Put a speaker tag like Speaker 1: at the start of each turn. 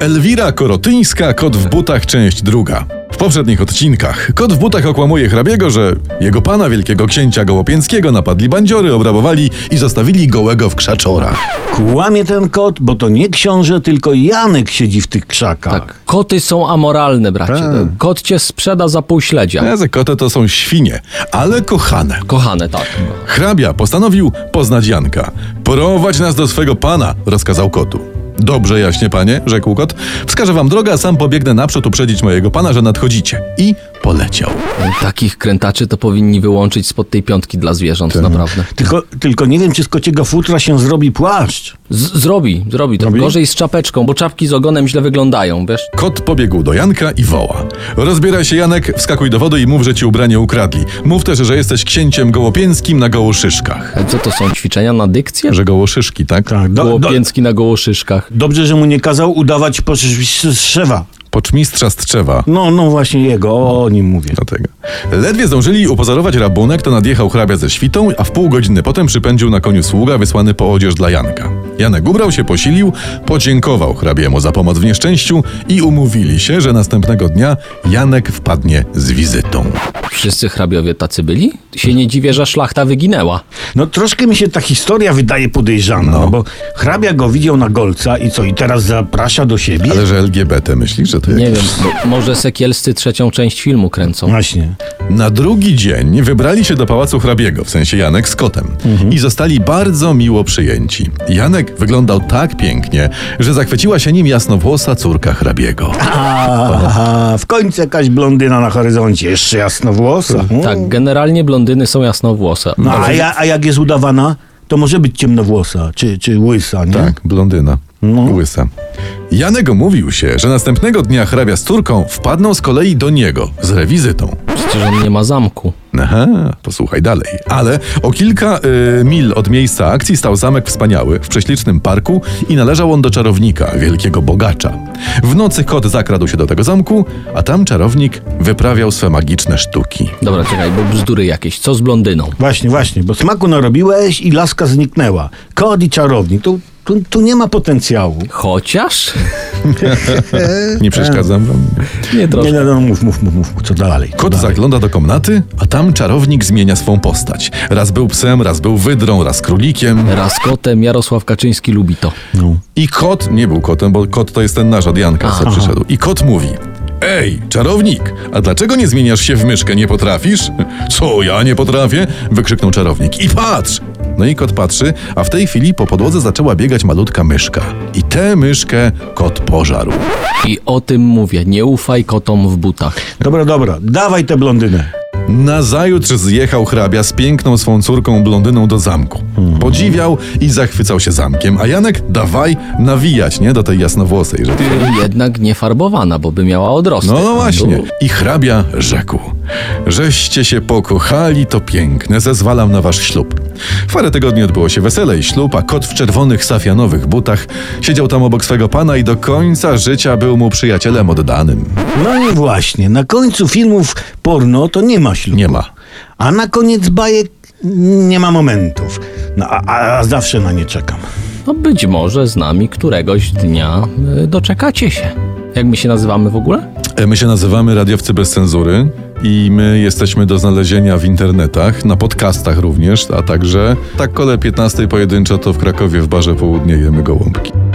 Speaker 1: Elwira Korotyńska, Kot w butach, część druga. W poprzednich odcinkach Kot w butach okłamuje hrabiego, że jego pana, wielkiego księcia Gołopięckiego, napadli bandziory, obrabowali i zostawili gołego w krzaczorach.
Speaker 2: Kłamie ten kot, bo to nie książę, tylko Janek siedzi w tych krzakach.
Speaker 3: Tak. Koty są amoralne, bracie.
Speaker 2: Tak.
Speaker 3: Kot cię sprzeda za pół śledzia.
Speaker 1: Te koty to są świnie, ale kochane.
Speaker 3: Kochane, tak.
Speaker 1: Hrabia postanowił poznać Janka. Prowadź nas do swego pana, rozkazał kotu. Dobrze, jaśnie panie, rzekł kot. Wskażę wam drogę, a sam pobiegnę naprzód uprzedzić mojego pana, że nadchodzicie. I poleciał.
Speaker 3: Takich krętaczy to powinni wyłączyć spod tej piątki dla zwierząt, naprawdę.
Speaker 2: Tylko, tylko nie wiem, czy z kociego futra się zrobi płaszcz.
Speaker 3: Z- zrobi, zrobi to. Gorzej z czapeczką, bo czapki z ogonem źle wyglądają, wiesz?
Speaker 1: Kot pobiegł do Janka i woła. Rozbieraj się, Janek, wskakuj do wody i mów, że ci ubranie ukradli. Mów też, że jesteś księciem gołopięskim na gołoszyszkach.
Speaker 3: E, Co to są ćwiczenia na dykcję?
Speaker 1: Że gołoszyszki, tak?
Speaker 2: Tak, do, do,
Speaker 3: Gołopięcki na gołoszyszkach.
Speaker 2: dobrze, że mu nie kazał udawać poszewa.
Speaker 1: Poczmistrza Strzewa.
Speaker 2: No, no właśnie jego, o, o nim mówię.
Speaker 1: Dlatego. Ledwie zdążyli upozorować rabunek, to nadjechał hrabia ze świtą, a w pół godziny potem przypędził na koniu sługa wysłany po odzież dla Janka. Janek ubrał się, posilił, podziękował hrabiemu za pomoc w nieszczęściu i umówili się, że następnego dnia Janek wpadnie z wizytą.
Speaker 3: Wszyscy hrabiowie tacy byli? Się nie dziwię, że szlachta wyginęła.
Speaker 2: No troszkę mi się ta historia wydaje podejrzana, no. bo hrabia go widział na golca i co, i teraz zaprasza do siebie?
Speaker 1: Ale że LGBT myślisz, że to
Speaker 3: Nie
Speaker 1: jak...
Speaker 3: wiem, bo może sekielscy trzecią część filmu kręcą.
Speaker 2: Właśnie.
Speaker 1: Na drugi dzień wybrali się do pałacu hrabiego, w sensie Janek z kotem, i zostali bardzo miło przyjęci. Janek wyglądał tak pięknie, że zachwyciła się nim jasnowłosa córka hrabiego.
Speaker 2: A, w końcu jakaś blondyna na horyzoncie, jeszcze jasnowłosa. Mm.
Speaker 3: Tak, generalnie blondyny są jasnowłose.
Speaker 2: No, a, ja, a jak jest udawana, to może być ciemnowłosa, czy, czy łysa, nie?
Speaker 1: Tak, blondyna. Łysa. Janek mówił się, że następnego dnia hrabia z córką wpadną z kolei do niego z rewizytą.
Speaker 3: Przecież on nie ma zamku.
Speaker 1: Aha, posłuchaj dalej. Ale o kilka y, mil od miejsca akcji stał zamek wspaniały w prześlicznym parku i należał on do czarownika, wielkiego bogacza. W nocy kot zakradł się do tego zamku, a tam czarownik wyprawiał swe magiczne sztuki.
Speaker 3: Dobra, czekaj, bo bzdury jakieś. Co z blondyną?
Speaker 2: Właśnie, właśnie, bo smaku narobiłeś i laska zniknęła. Kod i czarownik, tu, tu, tu nie ma potencjału.
Speaker 3: Chociaż?
Speaker 1: Nie przeszkadzam wam.
Speaker 3: Nie
Speaker 2: Nie,
Speaker 3: troszkę.
Speaker 2: no, no, mów, mów, mów, mów, co dalej. Co
Speaker 1: Kot
Speaker 2: dalej?
Speaker 1: zagląda do komnaty, a tam czarownik zmienia swą postać. Raz był psem, raz był wydrą, raz królikiem.
Speaker 3: Raz kotem Jarosław Kaczyński lubi to.
Speaker 1: I kot nie był kotem, bo kot to jest ten nasz od Janka, co przyszedł. I kot mówi: Ej, czarownik, a dlaczego nie zmieniasz się w myszkę? Nie potrafisz? Co ja nie potrafię? wykrzyknął czarownik. I patrz! No i kot patrzy, a w tej chwili po podłodze zaczęła biegać malutka myszka. I tę myszkę kot pożarł.
Speaker 3: I o tym mówię. Nie ufaj kotom w butach.
Speaker 2: Dobra, dobra, dawaj tę blondynę.
Speaker 1: Nazajutrz zjechał hrabia z piękną swą córką blondyną do zamku. Podziwiał i zachwycał się zamkiem, a Janek dawaj nawijać, nie? Do tej jasnowłosej, że
Speaker 3: Jednak nie farbowana, bo by miała odrostek.
Speaker 1: No, no właśnie.
Speaker 3: U.
Speaker 1: I hrabia rzekł. Żeście się pokochali, to piękne, zezwalam na wasz ślub. W Parę tygodni odbyło się wesele i ślub, a kot w czerwonych safianowych butach siedział tam obok swego pana i do końca życia był mu przyjacielem oddanym.
Speaker 2: No i właśnie, na końcu filmów porno to nie ma ślubu.
Speaker 1: Nie ma.
Speaker 2: A na koniec bajek nie ma momentów. No, a, a zawsze na nie czekam.
Speaker 3: No być może z nami któregoś dnia y, doczekacie się. Jak my się nazywamy w ogóle?
Speaker 1: E, My się nazywamy Radiowcy Bez Cenzury i my jesteśmy do znalezienia w internetach, na podcastach również, a także tak kole 15 pojedynczo to w Krakowie w barze południe jemy gołąbki.